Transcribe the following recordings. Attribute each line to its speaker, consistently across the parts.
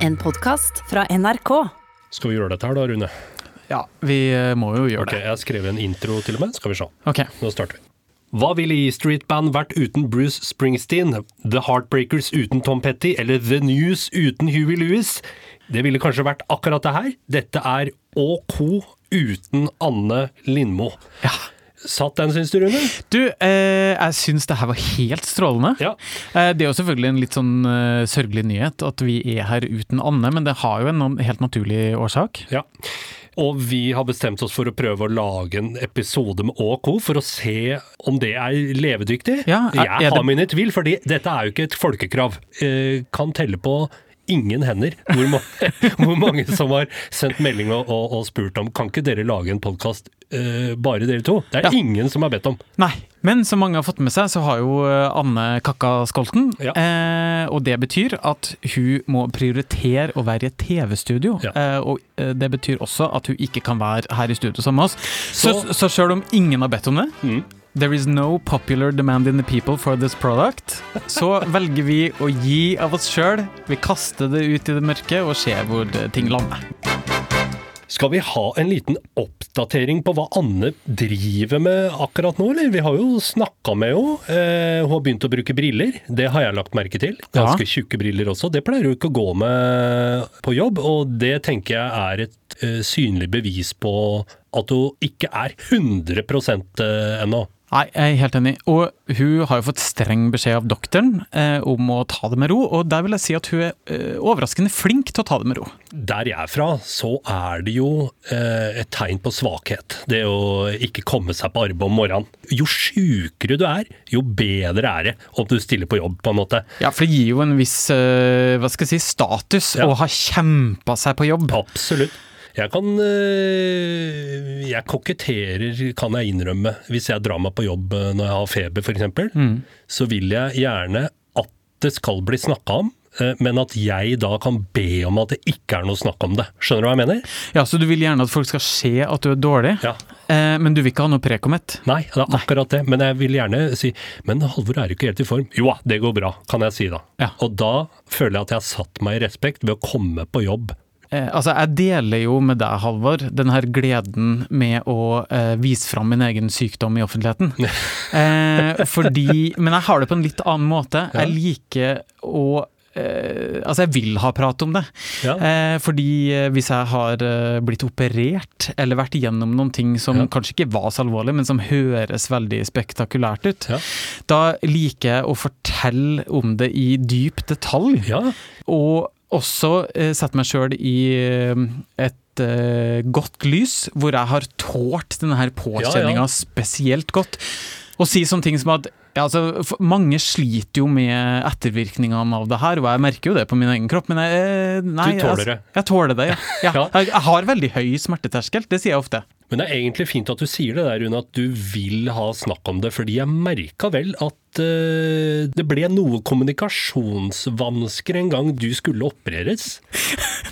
Speaker 1: En podkast fra NRK.
Speaker 2: Skal vi gjøre dette her da, Rune?
Speaker 3: Ja, vi eh, må jo gjøre
Speaker 2: Ok, Jeg har skrevet en intro til og med. Skal vi se.
Speaker 3: det. Ok.
Speaker 2: Nå starter vi. Hva ville E Street Band vært uten Bruce Springsteen? The Heartbreakers uten Tom Petty? Eller The News uten Huey Lewis? Det ville kanskje vært akkurat det her. Dette er OK uten Anne Lindmo.
Speaker 3: Ja.
Speaker 2: Satt den, syns du, Rune?
Speaker 3: Du, eh, jeg syns det her var helt strålende.
Speaker 2: Ja.
Speaker 3: Eh, det er jo selvfølgelig en litt sånn eh, sørgelig nyhet at vi er her uten Anne, men det har jo en na- helt naturlig årsak.
Speaker 2: Ja. Og vi har bestemt oss for å prøve å lage en episode med OK, for å se om det er levedyktig.
Speaker 3: Ja, er- er
Speaker 2: jeg har
Speaker 3: det-
Speaker 2: mine tvil, fordi dette er jo ikke et folkekrav. Eh, kan telle på ingen hender hvor, ma hvor mange som har sendt melding og, og, og spurt om kan ikke dere lage en podkast eh, bare dere to. Det er
Speaker 3: Ja.
Speaker 2: ingen som har bedt om.
Speaker 3: Nei. Men som mange har fått med seg, så har jo eh, Anne kakka skolten.
Speaker 2: Ja.
Speaker 3: Eh, og det betyr at hun må prioritere å være i et TV-studio.
Speaker 2: Ja.
Speaker 3: Eh, og eh, det betyr også at hun ikke kan være her i studio sammen med oss. Så,
Speaker 2: Så-
Speaker 3: så sjøl om ingen har bedt om det,
Speaker 2: Mm.
Speaker 3: There is no popular demand in the people for this product. Så velger vi å gi av oss sjøl. Vi kaster det ut i det mørke og ser hvor det- ting lander.
Speaker 2: Skal vi ha en liten oppdatering på hva Anne driver med akkurat nå, eller? Vi har jo snakka med henne. Eh, hun har begynt å bruke briller, det har jeg lagt merke til. Ganske tjukke briller også. Det pleier hun ikke å gå med på jobb, og det tenker jeg er et eh, synlig bevis på at hun ikke er 100 eh, ennå.
Speaker 3: Nei, jeg er helt enig. Og hun har jo fått streng beskjed av doktoren eh, om å ta det med ro, og der vil jeg si at hun er eh, overraskende flink til å ta det med ro.
Speaker 2: Der jeg er fra, så er det jo eh, et tegn på svakhet. Det å ikke komme seg på arbeid om morgenen. Jo sjukere du er, jo bedre er det om du stiller på jobb, på en måte.
Speaker 3: Ja, for det gir jo en viss eh, hva skal jeg si, status
Speaker 2: Ja.
Speaker 3: å ha kjempa seg på jobb.
Speaker 2: Absolutt. Jeg kan eh, Jeg koketterer, kan jeg innrømme, hvis jeg drar meg på jobb eh, når jeg har feber, f.eks. Så vil jeg gjerne at det skal bli snakka om, eh, men at jeg da kan be om at det ikke er noe snakk om det. Skjønner du hva jeg mener?
Speaker 3: Ja, Så du vil gjerne at folk skal se at du er dårlig,
Speaker 2: Ja.
Speaker 3: eh, men du vil ikke ha noe prekommet?
Speaker 2: Nei, det er akkurat det. Men jeg vil gjerne si Men Halvor er jo ikke helt i form. Jo da, det går bra, kan jeg si da.
Speaker 3: Ja.
Speaker 2: Og da føler jeg at jeg har satt meg i respekt ved å komme på jobb.
Speaker 3: Eh, altså, jeg deler jo med deg, Halvor, den her gleden med å eh, vise fram min egen sykdom i offentligheten. eh, fordi Men jeg har det på en litt annen måte. Jeg liker å eh, altså, jeg vil ha prat om det.
Speaker 2: Ja.
Speaker 3: Eh, fordi eh, hvis jeg har eh, blitt operert, eller vært igjennom noen ting som
Speaker 2: Ja.
Speaker 3: kanskje ikke var så alvorlig, men som høres veldig spektakulært ut,
Speaker 2: Ja.
Speaker 3: da liker jeg å fortelle om det i dyp detalj.
Speaker 2: Ja,
Speaker 3: Og også eh, sette meg sjøl i eh, et eh, godt lys, hvor jeg har tålt denne her påkjenninga
Speaker 2: Ja, ja.
Speaker 3: spesielt godt. Og si sånne ting som at ja, altså, f- Mange sliter jo med ettervirkningene av det her, og jeg merker jo det på min egen kropp, men jeg eh, nei,
Speaker 2: Du tåler
Speaker 3: jeg,
Speaker 2: det.
Speaker 3: Jeg tåler det, ja. ja.
Speaker 2: Ja.
Speaker 3: Jeg, jeg har veldig høy smerteterskel, det sier jeg ofte.
Speaker 2: Men det er egentlig fint at du sier det der, Rune, at du vil ha snakk om det. Fordi jeg merka vel at eh, det ble noe kommunikasjonsvansker en gang du skulle opereres.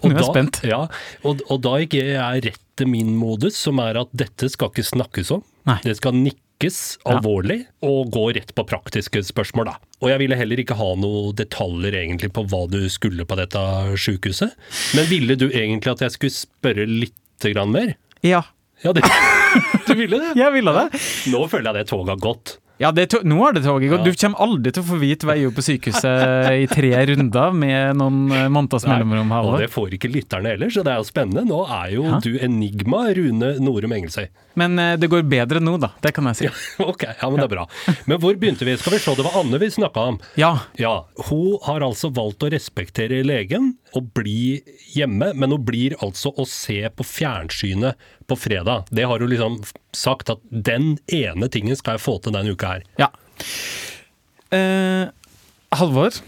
Speaker 3: Nå er jeg spent.
Speaker 2: Ja, og, og da gikk jeg rett til min modus, som er at dette skal ikke snakkes om.
Speaker 3: Nei.
Speaker 2: Det skal nikkes alvorlig, og gå rett på praktiske spørsmål, da. Og jeg ville heller ikke ha noen detaljer egentlig på hva du skulle på dette sjukehuset. Men ville du egentlig at jeg skulle spørre lite grann mer?
Speaker 3: Ja,
Speaker 2: Ja, det, du ville det?
Speaker 3: jeg ville det.
Speaker 2: Nå føler jeg det toget har gått.
Speaker 3: Ja, det er to nå har det toget gått. Du kommer aldri til å få vite hva jeg gjorde på sykehuset i tre runder med noen eh, måneders mellomrom.
Speaker 2: Og
Speaker 3: Halvor.
Speaker 2: det får ikke lytterne heller, så det er jo spennende. Nå er jo
Speaker 3: Ja.
Speaker 2: du enigma, Rune Norum Engelsøy.
Speaker 3: Men eh, det går bedre nå, da. Det kan jeg si.
Speaker 2: Ok, ja, men det er bra. Men hvor begynte vi? Skal vi se, det var Anne vi snakka om.
Speaker 3: Ja.
Speaker 2: Ja, hun har altså valgt å respektere legen og bli hjemme, men hun blir altså å se på fjernsynet på fredag. Det har hun liksom sagt at den ene tingen skal jeg få til denne uka her.
Speaker 3: ja. Eh, Halvor?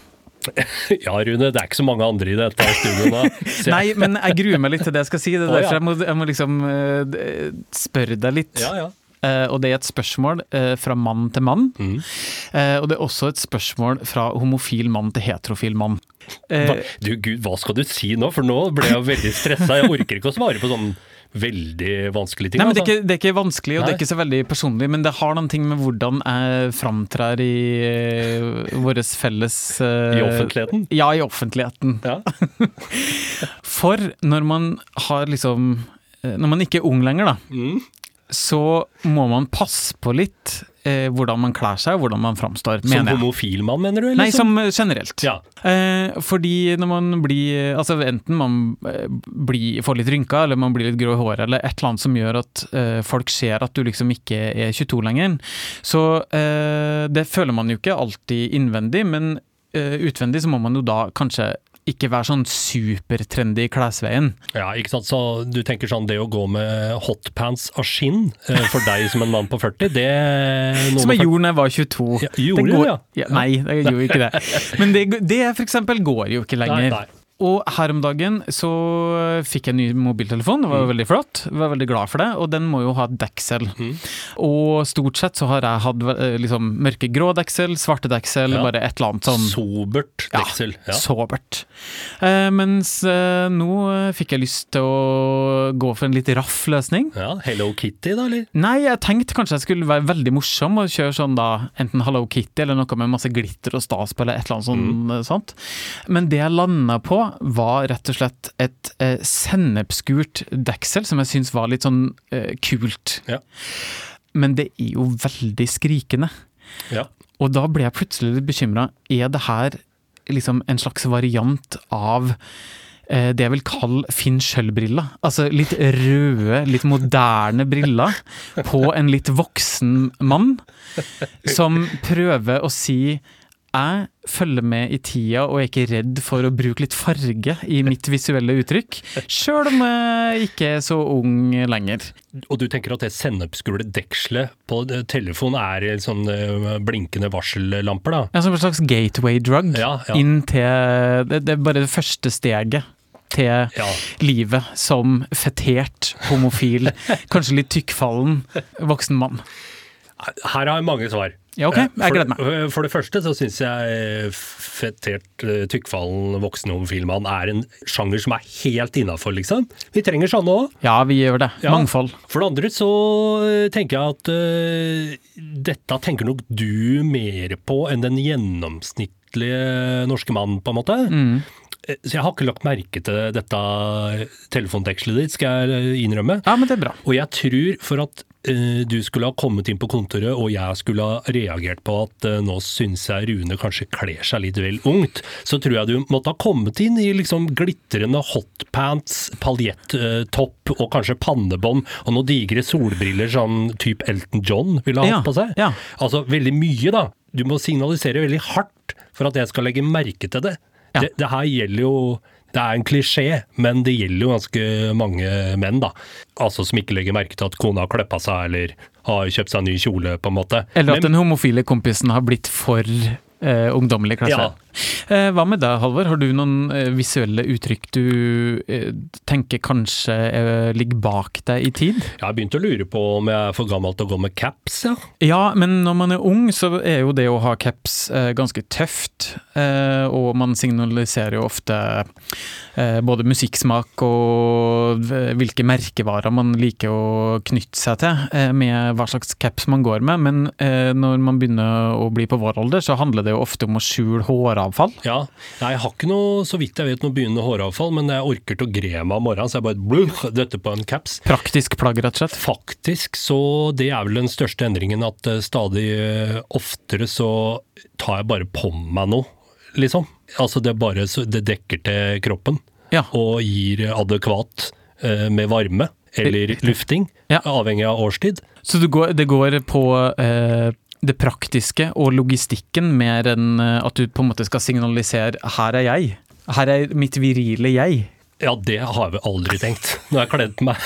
Speaker 2: Ja, Rune, det er ikke så mange andre i dette studioet nå. Så jeg-
Speaker 3: Nei, men jeg gruer meg litt til det jeg skal si. Det
Speaker 2: Å,
Speaker 3: er
Speaker 2: ja.
Speaker 3: derfor jeg må, jeg må liksom eh, d- spørre deg litt.
Speaker 2: Ja, ja.
Speaker 3: eh, og det er et spørsmål eh, fra mann til mann.
Speaker 2: Mm.
Speaker 3: Eh, og det er også et spørsmål fra homofil mann til heterofil mann. Eh,
Speaker 2: Hva- Du, Gud, hva skal du si nå? For nå ble jeg veldig stressa. Jeg orker ikke å svare på sånne veldig vanskelige ting.
Speaker 3: Nei, men det, er
Speaker 2: altså.
Speaker 3: ikke, det er ikke vanskelig, og det
Speaker 2: Nei.
Speaker 3: er ikke så veldig personlig, men det har noen ting med hvordan jeg framtrer i eh, vår felles eh,
Speaker 2: I offentligheten.
Speaker 3: Ja, i offentligheten.
Speaker 2: Ja.
Speaker 3: For når man har liksom eh, Når man ikke er ung lenger, da,
Speaker 2: Mm.
Speaker 3: så må man passe på litt eh, hvordan man kler seg, og hvordan man framstår,
Speaker 2: Som
Speaker 3: mener jeg.
Speaker 2: homofil mann, mener du? Eller
Speaker 3: Nei, som eh, generelt.
Speaker 2: Ja.
Speaker 3: Eh, fordi når man blir Altså enten man eh, blir, får litt rynker, eller man blir litt grå i håret, eller et eller annet som gjør at eh, folk ser at du liksom ikke er 22 lenger, så eh, det føler man jo ikke alltid innvendig, men eh, utvendig så må man jo da kanskje ikke være sånn supertrendy i klesveien.
Speaker 2: Ja, ikke sant? Så du tenker sånn, det å gå med hotpants av skinn, eh, for deg som en mann på 40, det noen
Speaker 3: Som jeg
Speaker 2: og
Speaker 3: gjorde da jeg var 22.
Speaker 2: Ja,
Speaker 3: Det
Speaker 2: gjorde du,
Speaker 3: går,
Speaker 2: ja.
Speaker 3: ja. Nei, jeg gjorde ikke det. Men det, det for eksempel går jo ikke lenger.
Speaker 2: Nei, nei.
Speaker 3: Og her om dagen så fikk jeg en ny mobiltelefon, det var
Speaker 2: Mm.
Speaker 3: veldig flott. Jeg var veldig glad for det, og den må jo ha et deksel.
Speaker 2: Mm.
Speaker 3: Og stort sett så har jeg hatt eh, liksom mørkegrå deksel, svarte deksel,
Speaker 2: Ja.
Speaker 3: bare et eller annet sånn
Speaker 2: Sobert
Speaker 3: Ja,
Speaker 2: deksel. Ja.
Speaker 3: sobert. Eh, mens eh, nå eh, fikk jeg lyst til å gå for en litt raff løsning.
Speaker 2: ja, Hello Kitty, da, eller?
Speaker 3: Nei, jeg tenkte kanskje jeg skulle være veldig morsom og kjøre sånn da, enten Hello Kitty eller noe med masse glitter og stas på, eller et eller annet sånt. eh, sant? Men det jeg landa på, var rett og slett et eh, sennepsgult deksel, som jeg syns var litt sånn eh, kult.
Speaker 2: Ja.
Speaker 3: Men det er jo veldig skrikende.
Speaker 2: Ja.
Speaker 3: Og da ble jeg plutselig litt bekymra. Er det her liksom en slags variant av eh, det jeg vil kalle Finn Schjøll-briller? Altså litt røde, litt moderne briller på en litt voksen mann som prøver å si jeg følger med i tida og er ikke redd for å bruke litt farge i mitt visuelle uttrykk, sjøl om jeg ikke er så ung lenger.
Speaker 2: Og du tenker at det sennepsgule dekselet på eh, telefonen er eh, sånn eh, blinkende varsellamper, da?
Speaker 3: Ja, Som en slags gateway drug
Speaker 2: Ja, ja.
Speaker 3: inn til det, det er bare det første steget til
Speaker 2: Ja.
Speaker 3: livet som fetert, homofil, kanskje litt tykkfallen voksen mann.
Speaker 2: Her har jeg mange svar.
Speaker 3: Ja, ok.
Speaker 2: Eh,
Speaker 3: Jeg gleder meg.
Speaker 2: For, for det første så syns jeg eh, fetert, eh, tykkfallen voksen homofil mann er en sjanger som er helt innafor, liksom. Vi trenger sånne òg.
Speaker 3: Ja, vi gjør det.
Speaker 2: Ja.
Speaker 3: Mangfold.
Speaker 2: For det andre så eh, tenker jeg at eh, dette tenker nok du mer på enn den gjennomsnittlige norske mannen, på en måte.
Speaker 3: Mm.
Speaker 2: Eh, Så jeg har ikke lagt merke til dette telefondekselet ditt, skal jeg eh, innrømme.
Speaker 3: Ja, men det er bra.
Speaker 2: Og jeg tror for at eh, du skulle ha kommet inn på kontoret, og jeg skulle ha reagert på at eh, nå syns jeg Rune kanskje kler seg litt vel ungt, så tror jeg du måtte ha kommet inn i liksom glitrende hotpants, paljettopp eh, og kanskje pannebånd og noen digre solbriller sånn type Elton John ville ha
Speaker 3: Ja,
Speaker 2: hatt på seg.
Speaker 3: ja.
Speaker 2: Altså veldig mye, da. Du må signalisere veldig hardt for at jeg skal legge merke til det.
Speaker 3: Ja.
Speaker 2: Det, det her gjelder jo Det er en klisjé, men det gjelder jo ganske mange menn, da. Altså som ikke legger merke til at kona har kleppa seg eller har kjøpt seg en ny kjole, på en måte.
Speaker 3: Eller at
Speaker 2: Men-
Speaker 3: den homofile kompisen har blitt for eh, ungdommelig klasse.
Speaker 2: Ja.
Speaker 3: Eh, hva med deg, Halvor? Har du noen eh, visuelle uttrykk du eh, tenker kanskje eh, ligger bak deg i tid?
Speaker 2: Jeg har begynt å lure på om jeg er for gammel til å gå med caps, ja.
Speaker 3: Ja, men når man er ung, så er jo det å ha caps eh, ganske tøft. Eh, og man signaliserer jo ofte eh, både musikksmak og eh, hvilke merkevarer man liker å knytte seg til, eh, med hva slags caps man går med. Men eh, når man begynner å bli på vår alder, så handler det jo ofte om å skjule håravfall.
Speaker 2: ja. Nei, jeg har ikke noe, så vidt jeg vet, noe begynnende håravfall, men jeg orker til å gre meg om morgenen, så jeg bare bluh, døtter på en caps.
Speaker 3: Praktisk plagg, rett og slett.
Speaker 2: Faktisk så det er vel den største endringen at eh, stadig eh, oftere så tar jeg bare på meg noe, liksom. Altså det er bare så det dekker til kroppen
Speaker 3: Ja.
Speaker 2: og gir adekvat eh, med varme eller lufting,
Speaker 3: Ja.
Speaker 2: avhengig av årstid.
Speaker 3: Så det går, det går på eh, det praktiske og logistikken mer enn eh, at du på en måte skal signalisere 'her er jeg'. Her er mitt virile jeg.
Speaker 2: Ja, det har jeg aldri tenkt når jeg har kledd meg.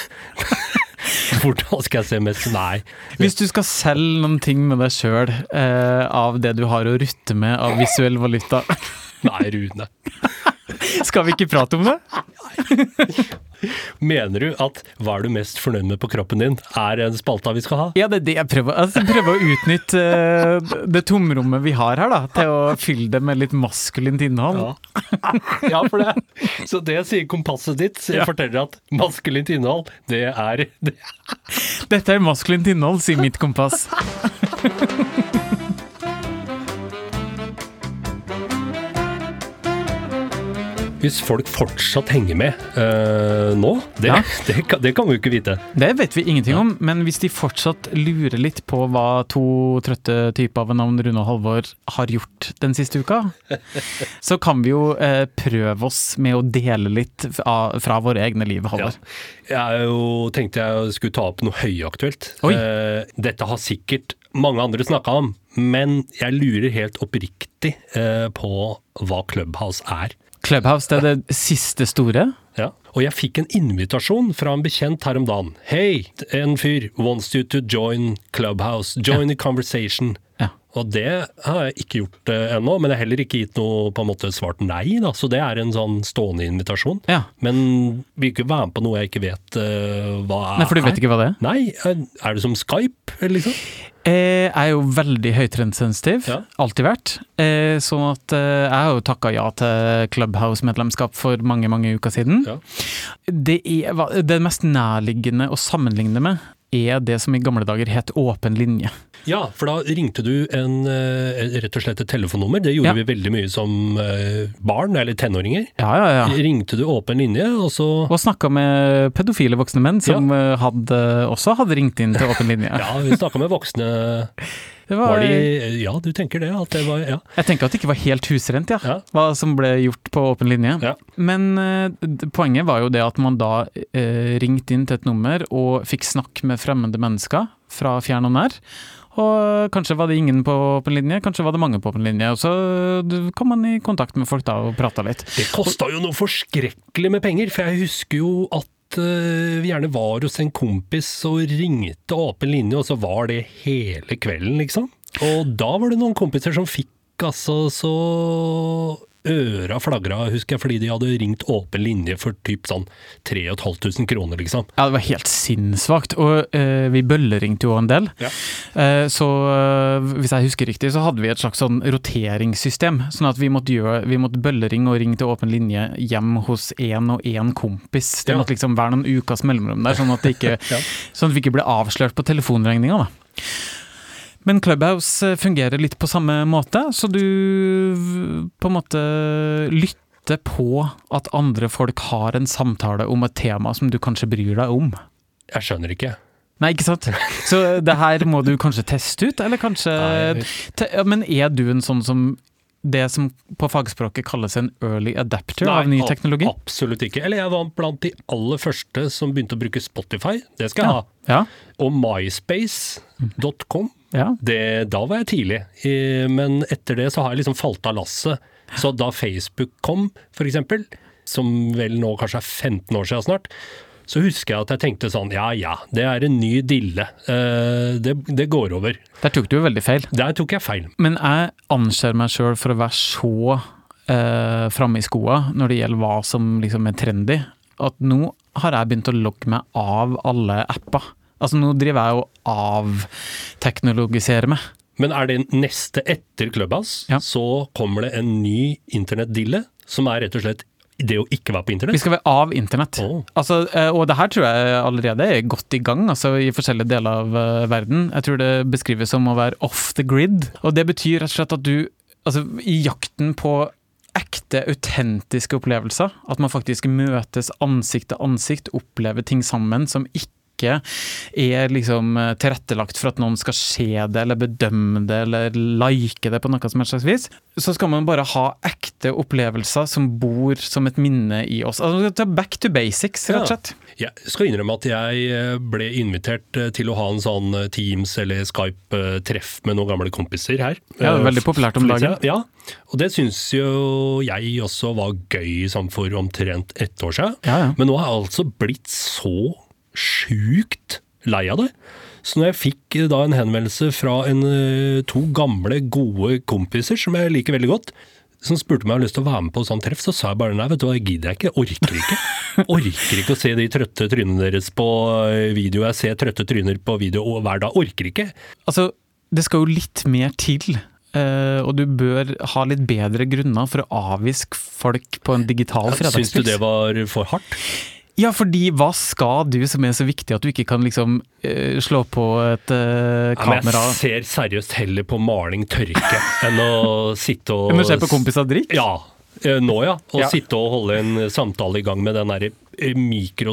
Speaker 2: Hvordan skal jeg se mest Nei.
Speaker 3: Hvis du skal selge noen ting med deg sjøl eh, av det du har å rutte med av visuell valuta,
Speaker 2: Nei, Rune.
Speaker 3: skal vi ikke prate om det?
Speaker 2: Mener du at hva er du mest fornøyd med på kroppen din, er en spalte vi skal ha?
Speaker 3: Ja, det er det jeg prøver. Altså, jeg prøver å utnytte eh, det tomrommet vi har her, da, til å fylle det med litt maskulint innhold.
Speaker 2: Ja, for det. Så det sier kompasset ditt. Så jeg
Speaker 3: Ja.
Speaker 2: forteller at maskulint innhold, det er det.
Speaker 3: Dette er maskulint innhold, sier mitt kompass.
Speaker 2: Hvis folk fortsatt henger med eh, nå, det,
Speaker 3: Ja.
Speaker 2: det, kan, det kan vi jo ikke vite.
Speaker 3: Det vet vi ingenting om, men hvis de fortsatt lurer litt på hva to trøtte typer av navn Rune og Halvor har gjort den siste uka, så kan vi jo eh, prøve oss med å dele litt fra, fra våre egne liv,
Speaker 2: Ja.
Speaker 3: Halvor.
Speaker 2: Jeg er jo, tenkte jeg skulle ta opp noe høyaktuelt.
Speaker 3: Oi.
Speaker 2: Eh, dette har sikkert mange andre snakka om, men jeg lurer helt oppriktig eh, på hva Clubhouse er.
Speaker 3: Clubhouse det er det siste store.
Speaker 2: Ja. Og jeg fikk en invitasjon fra en bekjent her om dagen. Hei, en fyr wants you to join Clubhouse. Join the conversation.
Speaker 3: Ja.
Speaker 2: Og det har jeg ikke gjort eh, ennå, men jeg har heller ikke gitt noe på en måte svart nei, da. så det er en sånn stående invitasjon.
Speaker 3: Ja.
Speaker 2: Men vil ikke være med på noe jeg ikke vet eh, hva er.
Speaker 3: Nei, for du vet ikke hva det er?
Speaker 2: Nei, er er det som Skype, liksom?
Speaker 3: Eh, Jeg er jo veldig høytrendsensitiv,
Speaker 2: Ja.
Speaker 3: alltid vært. Eh, Sånn at eh, jeg har jo takka ja til Clubhouse-medlemskap for mange, mange uker siden.
Speaker 2: Ja.
Speaker 3: Det, er, hva- det mest nærliggende å sammenligne med er det som i gamle dager het åpen linje.
Speaker 2: Ja, for da ringte du en, eh, rett og slett et telefonnummer. Det gjorde
Speaker 3: Ja.
Speaker 2: vi veldig mye som eh, barn, eller tenåringer.
Speaker 3: Ja, ja, ja.
Speaker 2: Ringte du åpen linje, og så
Speaker 3: Og snakka med pedofile voksne menn som eh, hadde, også hadde ringt inn til åpen linje.
Speaker 2: Ja, vi snakka med voksne.
Speaker 3: Det
Speaker 2: Var de Ja, du tenker det. At det var, ja.
Speaker 3: Jeg tenker at det ikke var helt husrent, ja,
Speaker 2: Ja.
Speaker 3: hva som ble gjort på åpen linje.
Speaker 2: Ja.
Speaker 3: Men eh, d- poenget var jo det at man da eh, ringte inn til et nummer og fikk snakke med fremmede mennesker fra fjern og nær. Og kanskje var det ingen på åpen linje, kanskje var det mange på åpen linje. Og så eh, kom man i kontakt med folk da og prata litt.
Speaker 2: Det kosta jo noe forskrekkelig med penger, for jeg husker jo at eh, vi gjerne var hos en kompis og ringte åpen linje, og så var det hele kvelden, liksom. Og da var det noen kompiser som fikk altså så Øra flagra, husker jeg, fordi de hadde ringt åpen linje for typ sånn 3500 kroner, liksom.
Speaker 3: Ja, det var helt sinnssvakt. Og eh, vi bølleringte jo en del.
Speaker 2: Ja.
Speaker 3: Eh, så eh, hvis jeg husker riktig, så hadde vi et slags sånn roteringssystem. Sånn at vi måtte, gjøre, vi måtte bølleringe og ringe til åpen linje hjem hos én og én kompis. Det
Speaker 2: Ja.
Speaker 3: måtte liksom være noen ukas mellomrom der, sånn at, det ikke,
Speaker 2: Ja.
Speaker 3: sånn at vi ikke ble avslørt på telefonregninga, da. Men Clubhouse eh, fungerer litt på samme måte, så du eh, på en måte lytter på at andre folk har en samtale om et tema som du kanskje bryr deg om.
Speaker 2: Jeg skjønner ikke.
Speaker 3: Nei, ikke sant? Så det her må du kanskje teste ut, eller kanskje
Speaker 2: Nei.
Speaker 3: te, ja, Men er du en sånn som det som på fagspråket kalles en early adapter av ny
Speaker 2: ab-
Speaker 3: teknologi?
Speaker 2: Absolutt ikke. Eller jeg var blant de aller første som begynte å bruke Spotify. Det skal jeg
Speaker 3: Ja. Ja.
Speaker 2: ha. Og myspace.com.
Speaker 3: ja.
Speaker 2: Det, da var jeg tidlig, Eh, men etter det så har jeg liksom falt av lasset. Så da Facebook kom, for eksempel, som vel nå kanskje er 15 år siden snart, så husker jeg at jeg tenkte sånn, ja ja, det er en ny dille. Eh, det, det går over.
Speaker 3: Der tok du jo veldig feil.
Speaker 2: Der tok jeg feil.
Speaker 3: Men jeg anser meg sjøl for å være så eh, framme i skoa når det gjelder hva som liksom er trendy, at nå har jeg begynt å logge meg av alle apper. Altså nå driver jeg og avteknologiserer meg.
Speaker 2: Men er det neste etter Clubhouse,
Speaker 3: Ja.
Speaker 2: så kommer det en ny internettdille, som er rett og slett det å ikke være på
Speaker 3: Vi
Speaker 2: internett.
Speaker 3: skal være av internett.
Speaker 2: Åh.
Speaker 3: Altså, eh, og det her tror jeg allerede er godt i gang altså, i forskjellige deler av eh, verden. Jeg tror det beskrives som å være off the grid. Og det betyr rett og slett at du, altså, i jakten på ekte, autentiske opplevelser, at man faktisk møtes ansikt til ansikt, opplever ting sammen som ikke er liksom eh, tilrettelagt for at noen skal se det, eller bedømme det, eller like det på noe som helst slags vis. Så skal man bare ha ekte opplevelser som bor som et minne i oss. Altså, ta back to basics, rett og
Speaker 2: Ja.
Speaker 3: slett.
Speaker 2: Jeg skal innrømme at jeg eh, ble invitert eh, til å ha en sånn eh, Teams eller Skype-treff med noen gamle kompiser her.
Speaker 3: Ja, det er
Speaker 2: Eh,
Speaker 3: veldig populært om
Speaker 2: for litt
Speaker 3: dagen.
Speaker 2: siden. Ja, og det syns jo jeg også var gøy sånn for omtrent ett år siden.
Speaker 3: Ja, ja.
Speaker 2: Men nå har jeg altså blitt så sjukt lei av det. Så når jeg fikk eh, da en henvendelse fra en, eh, to gamle, gode kompiser som jeg liker veldig godt, som spurte om jeg hadde lyst til å være med på sånn treff, så sa jeg bare nei, vet du hva, jeg gidder jeg ikke. Orker ikke. Orker ikke å se de trøtte trynene deres på eh, video. Jeg ser trøtte tryner på video hver dag. Orker ikke.
Speaker 3: Altså, det skal jo litt mer til. eh, og du bør ha litt bedre grunner for å avviske folk på en digital
Speaker 2: Syns du
Speaker 3: fredagspils.
Speaker 2: det var for hardt?
Speaker 3: Ja, fordi hva skal du som er så viktig at du ikke kan liksom eh, slå på et eh,
Speaker 2: Nei, men
Speaker 3: kamera?
Speaker 2: jeg ser seriøst heller på maling tørke enn å sitte og
Speaker 3: Men se på kompiser drikke?
Speaker 2: Ja. eh, Nå, ja. Å
Speaker 3: Ja.
Speaker 2: sitte og holde en samtale i gang med den derre eh,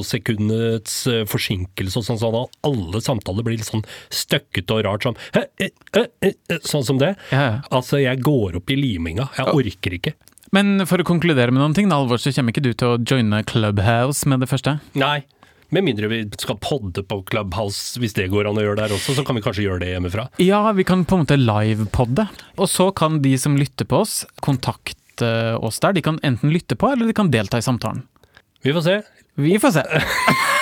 Speaker 2: mikrosekundets eh, forsinkelse og sånn, sånn at alle samtaler blir litt sånn støkkete og rart sånn «Hæ, eh, eh, eh, eh», Sånn som det.
Speaker 3: Ja, ja.
Speaker 2: Altså, jeg går opp i liminga. Jeg orker ikke.
Speaker 3: Men for å konkludere med noen ting, da, Alvor, så kommer ikke du til å joine Clubhouse med det første?
Speaker 2: Nei. Med mindre vi skal podde på Clubhouse, hvis det går an å gjøre der også, så kan vi kanskje gjøre det hjemmefra.
Speaker 3: Ja, vi kan på en måte livepodde. Og så kan de som lytter på oss, kontakte oss der. De kan enten lytte på, eller de kan delta i samtalen.
Speaker 2: Vi får se.
Speaker 3: Vi får se.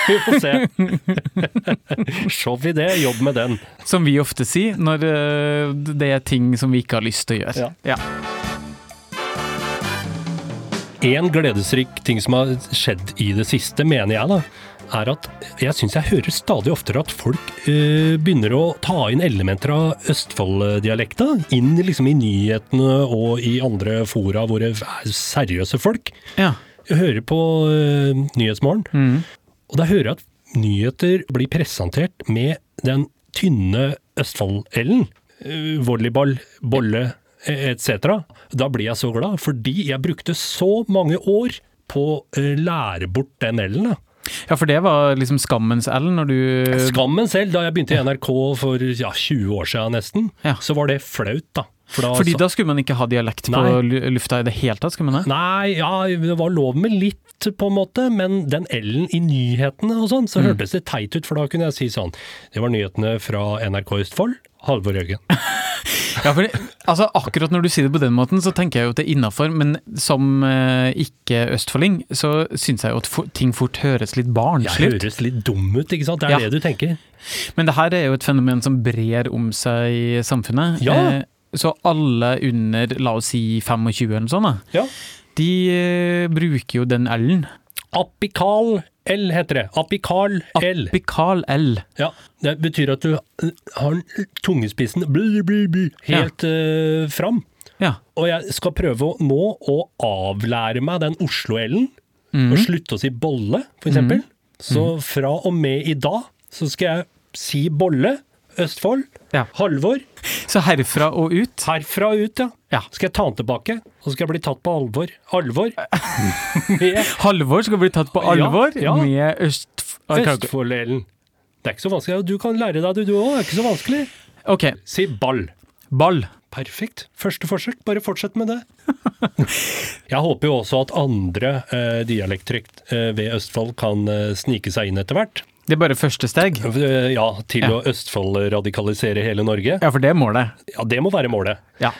Speaker 2: Vi får se. Show i det, jobb med den.
Speaker 3: Som vi ofte sier når eh, det er ting som vi ikke har lyst til å gjøre. Ja.
Speaker 2: En gledesrik ting som har skjedd i det siste, mener jeg da, er at jeg syns jeg hører stadig oftere at folk eh, begynner å ta inn elementer av Østfold-dialekta. Inn liksom i nyhetene og i andre fora hvor det er seriøse folk.
Speaker 3: Ja.
Speaker 2: Jeg hører på eh, Nyhetsmorgen,
Speaker 3: Mm.
Speaker 2: og da hører jeg at nyheter blir presentert med den tynne Østfold-L-en. eh, volleyball, bolle eh, etc. Da blir jeg så glad, fordi jeg brukte så mange år på å eh, lære bort den L-en. da.
Speaker 3: ja, for det var liksom skammens L når du
Speaker 2: Skammen selv, da jeg begynte i NRK for ja, 20 år siden nesten,
Speaker 3: Ja.
Speaker 2: så var det flaut, da. For da
Speaker 3: Fordi
Speaker 2: sa-
Speaker 3: da skulle man ikke ha dialekt på
Speaker 2: Altså- Nei.
Speaker 3: lu- lufta i det hele tatt, skulle man det?
Speaker 2: Nei, ja, det var lov med litt, på en måte, men den L-en i nyhetene og sånn, så hørtes det teit ut, for da kunne jeg si sånn Det var nyhetene fra NRK Østfold. Halvor Jørgen.
Speaker 3: Ja, for det, altså Akkurat når du sier det på den måten, så tenker jeg jo at det er innafor. Men som eh, ikke østfolding, så syns jeg jo at fo- ting fort høres litt
Speaker 2: Jeg
Speaker 3: barnslig ut.
Speaker 2: høres litt dum ut, ikke sant? Det er
Speaker 3: Ja.
Speaker 2: det du tenker.
Speaker 3: Men det her er jo et fenomen som brer om seg i samfunnet.
Speaker 2: Ja.
Speaker 3: Eh, Så alle under la oss si 25 eller noe sånt, da,
Speaker 2: Ja.
Speaker 3: de eh, bruker jo den L-en.
Speaker 2: Apikal L heter det. Apikal L.
Speaker 3: Apikal L.
Speaker 2: Ja, Det betyr at du har tungespissen bli, bli, bli, helt eh, fram.
Speaker 3: Ja.
Speaker 2: Og jeg skal prøve å, nå å avlære meg den Oslo-L-en,
Speaker 3: Mhm.
Speaker 2: og slutte å si bolle, for eksempel. Så fra og med i dag så skal jeg si bolle, Østfold,
Speaker 3: Ja.
Speaker 2: Halvor.
Speaker 3: Så herfra og ut.
Speaker 2: Herfra og ut, ja.
Speaker 3: Ja.
Speaker 2: Skal jeg ta den tilbake, og så skal jeg bli tatt på alvor. Alvor. med
Speaker 3: Halvor skal bli tatt på
Speaker 2: Ja,
Speaker 3: alvor
Speaker 2: ja.
Speaker 3: med øst... Jeg klarer ikke-
Speaker 2: Østfold-L-en. Det er ikke så vanskelig. Du kan lære deg det, du òg. Det er ikke så vanskelig.
Speaker 3: Ok,
Speaker 2: Si ball.
Speaker 3: ball.
Speaker 2: Perfekt. Første forsøk, bare fortsett med det. Jeg håper jo også at andre eh, dialekttrykk eh, ved Østfold kan eh, snike seg inn etter hvert.
Speaker 3: Det er bare første steg.
Speaker 2: Eh, ja, til
Speaker 3: Ja.
Speaker 2: å Østfold-radikalisere hele Norge.
Speaker 3: Ja, for det er målet.
Speaker 2: Ja, det må være målet.
Speaker 3: Ja.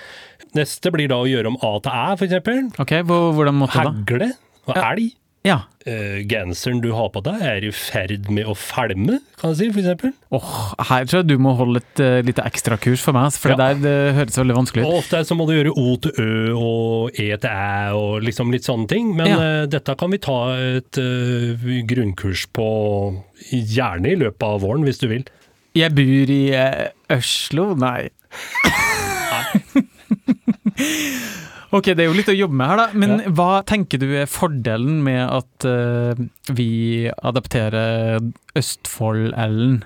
Speaker 2: Neste blir da å gjøre om A til Æ, for eksempel.
Speaker 3: Ok, hvor- hvordan måte da?
Speaker 2: Hagle og elg.
Speaker 3: Ja.
Speaker 2: Eh, genseren du har på deg er i ferd med å falme, kan jeg si, for eksempel.
Speaker 3: Åh, her tror jeg du må holde et uh, lite ekstrakurs for meg, ass, for
Speaker 2: Ja.
Speaker 3: det der det høres veldig vanskelig ut.
Speaker 2: Og ofte så må du gjøre O til Ø og E til Æ og liksom litt sånne ting. Men
Speaker 3: Ja.
Speaker 2: eh, dette kan vi ta et eh, grunnkurs på gjerne i løpet av våren, hvis du vil.
Speaker 3: Jeg bor i eh, Øslo, nei. ok, det er jo litt å jobbe med her, da. Men
Speaker 2: Ja.
Speaker 3: hva tenker du er fordelen med at eh, vi adapterer Østfold-L-en?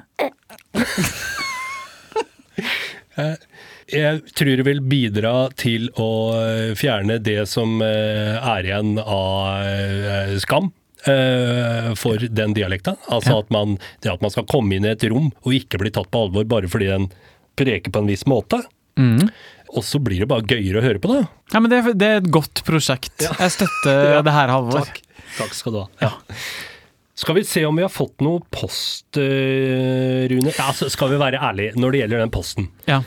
Speaker 2: Jeg tror det vil bidra til å eh, fjerne det som eh, er igjen av eh, skam. eh, For den dialekta. Altså
Speaker 3: Ja.
Speaker 2: at man, det at man skal komme inn i et rom og ikke bli tatt på alvor bare fordi den preker på en viss måte.
Speaker 3: Mm.
Speaker 2: Og så blir det bare gøyere å høre på, da.
Speaker 3: Ja, men det, er- det er et godt prosjekt. Jeg støtter
Speaker 2: Ja,
Speaker 3: det her, Halvor.
Speaker 2: Takk. Takk skal du ha. Ja. Skal vi se om vi har fått noe post, eh, Rune? Ja, Altså, skal vi være ærlige når det gjelder den posten?
Speaker 3: Ja.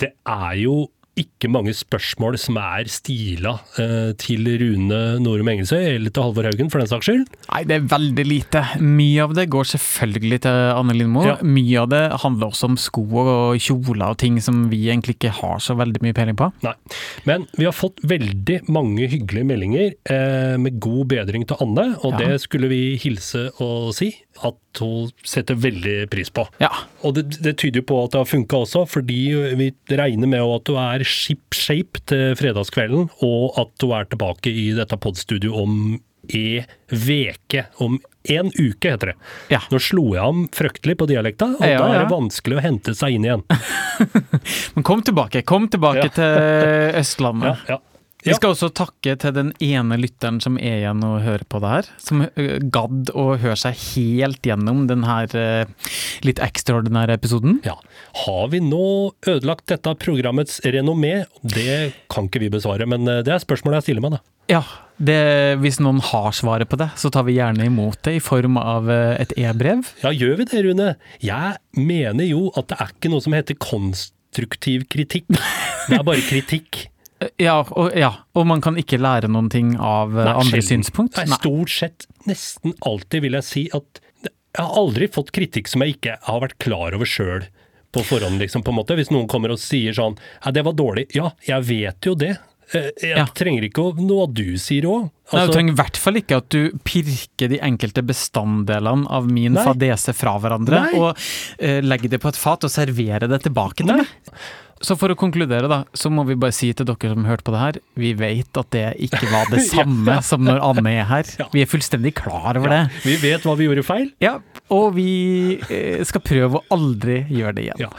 Speaker 2: Det er jo ikke mange spørsmål som er stila eh, til Rune Norum Engelsøy, eller til Halvor Haugen for den saks skyld.
Speaker 3: Nei, det er veldig lite. Mye av det går selvfølgelig til Anne Lindmo.
Speaker 2: Ja.
Speaker 3: Mye av det handler også om sko og kjoler og ting som vi egentlig ikke har så veldig mye peiling på.
Speaker 2: Nei. Men vi har fått veldig mange hyggelige meldinger eh, med god bedring til Anne, og
Speaker 3: Ja.
Speaker 2: det skulle vi hilse og si at hun setter veldig pris på.
Speaker 3: Ja,
Speaker 2: Og det, det tyder jo på at det har funka også, fordi vi regner med at du er ship-shape til fredagskvelden, og at du er tilbake i dette podstudioet om e veke. Om én uke, heter det.
Speaker 3: Ja.
Speaker 2: Nå slo jeg ham fryktelig på dialekta, og
Speaker 3: Ja,
Speaker 2: da er det
Speaker 3: ja.
Speaker 2: vanskelig å hente seg inn igjen.
Speaker 3: Men kom tilbake! Kom tilbake
Speaker 2: Ja.
Speaker 3: til
Speaker 2: Ja,
Speaker 3: Østlandet.
Speaker 2: ja.
Speaker 3: Vi skal også takke til den ene lytteren som er igjen og hører på det her. Som ø, gadd å høre seg helt gjennom den her ø, litt ekstraordinære episoden.
Speaker 2: Ja. Har vi nå ødelagt dette programmets renommé? Det kan ikke vi besvare, men eh, det er spørsmålet jeg stiller meg, da.
Speaker 3: Ja, det, hvis noen har svaret på det, så tar vi gjerne imot det i form av eh, et e-brev.
Speaker 2: Ja, gjør vi det, Rune? Jeg mener jo at det er ikke noe som heter konstruktiv kritikk. Det er bare kritikk.
Speaker 3: Eh, Ja, og- ja, og man kan ikke lære noen ting av eh,
Speaker 2: Nei,
Speaker 3: andre
Speaker 2: sjelden.
Speaker 3: synspunkt.
Speaker 2: Nei, stort sett, nesten alltid vil jeg si at jeg har aldri fått kritikk som jeg ikke har vært klar over sjøl på forhånd, liksom, på en måte. Hvis noen kommer og sier sånn Ja, det var dårlig. Ja, jeg vet jo det. Eh, Jeg
Speaker 3: Ja.
Speaker 2: trenger ikke å, noe av du sier Altså, òg.
Speaker 3: Nei, du trenger i hvert fall ikke at du pirker de enkelte bestanddelene av min
Speaker 2: Nei.
Speaker 3: fadese fra hverandre,
Speaker 2: Nei.
Speaker 3: og eh, legger det på et fat og serverer det tilbake til
Speaker 2: Nei.
Speaker 3: meg. Så for å konkludere, da, så må vi bare si til dere som hørte på det her, vi vet at det ikke var det samme som når Anne er her.
Speaker 2: Ja.
Speaker 3: Vi er fullstendig klar over det.
Speaker 2: Vi vet hva vi gjorde feil.
Speaker 3: Ja, og vi eh, skal prøve å aldri gjøre det igjen.
Speaker 2: Ja.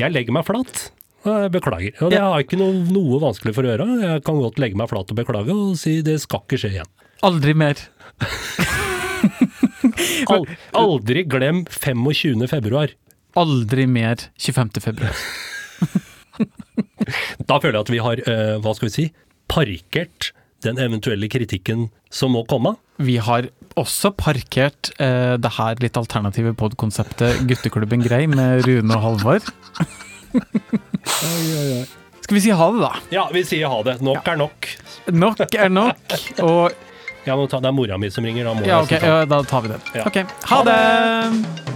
Speaker 2: Jeg legger meg flat. og jeg Beklager. Og det
Speaker 3: Ja.
Speaker 2: har jeg ikke noe, noe vanskelig for å gjøre. Jeg kan godt legge meg flat og beklage og si det skal ikke skje igjen.
Speaker 3: Aldri mer.
Speaker 2: Al aldri glem 25. februar.
Speaker 3: Aldri mer 25. februar.
Speaker 2: Da føler jeg at vi har, eh, hva skal vi si, parkert den eventuelle kritikken som må komme.
Speaker 3: Vi har også parkert eh, det her litt alternative podkonseptet Gutteklubben Grei med Rune og Halvor. Skal vi si ha det, da?
Speaker 2: Ja, vi sier ha det. Nok er nok.
Speaker 3: Nok er nok. Og
Speaker 2: Jeg må ta, det er mora mi som ringer, da må
Speaker 3: ja,
Speaker 2: jeg
Speaker 3: ok,
Speaker 2: ta-
Speaker 3: ja, da tar vi den.
Speaker 2: Ja.
Speaker 3: Ok, ha det!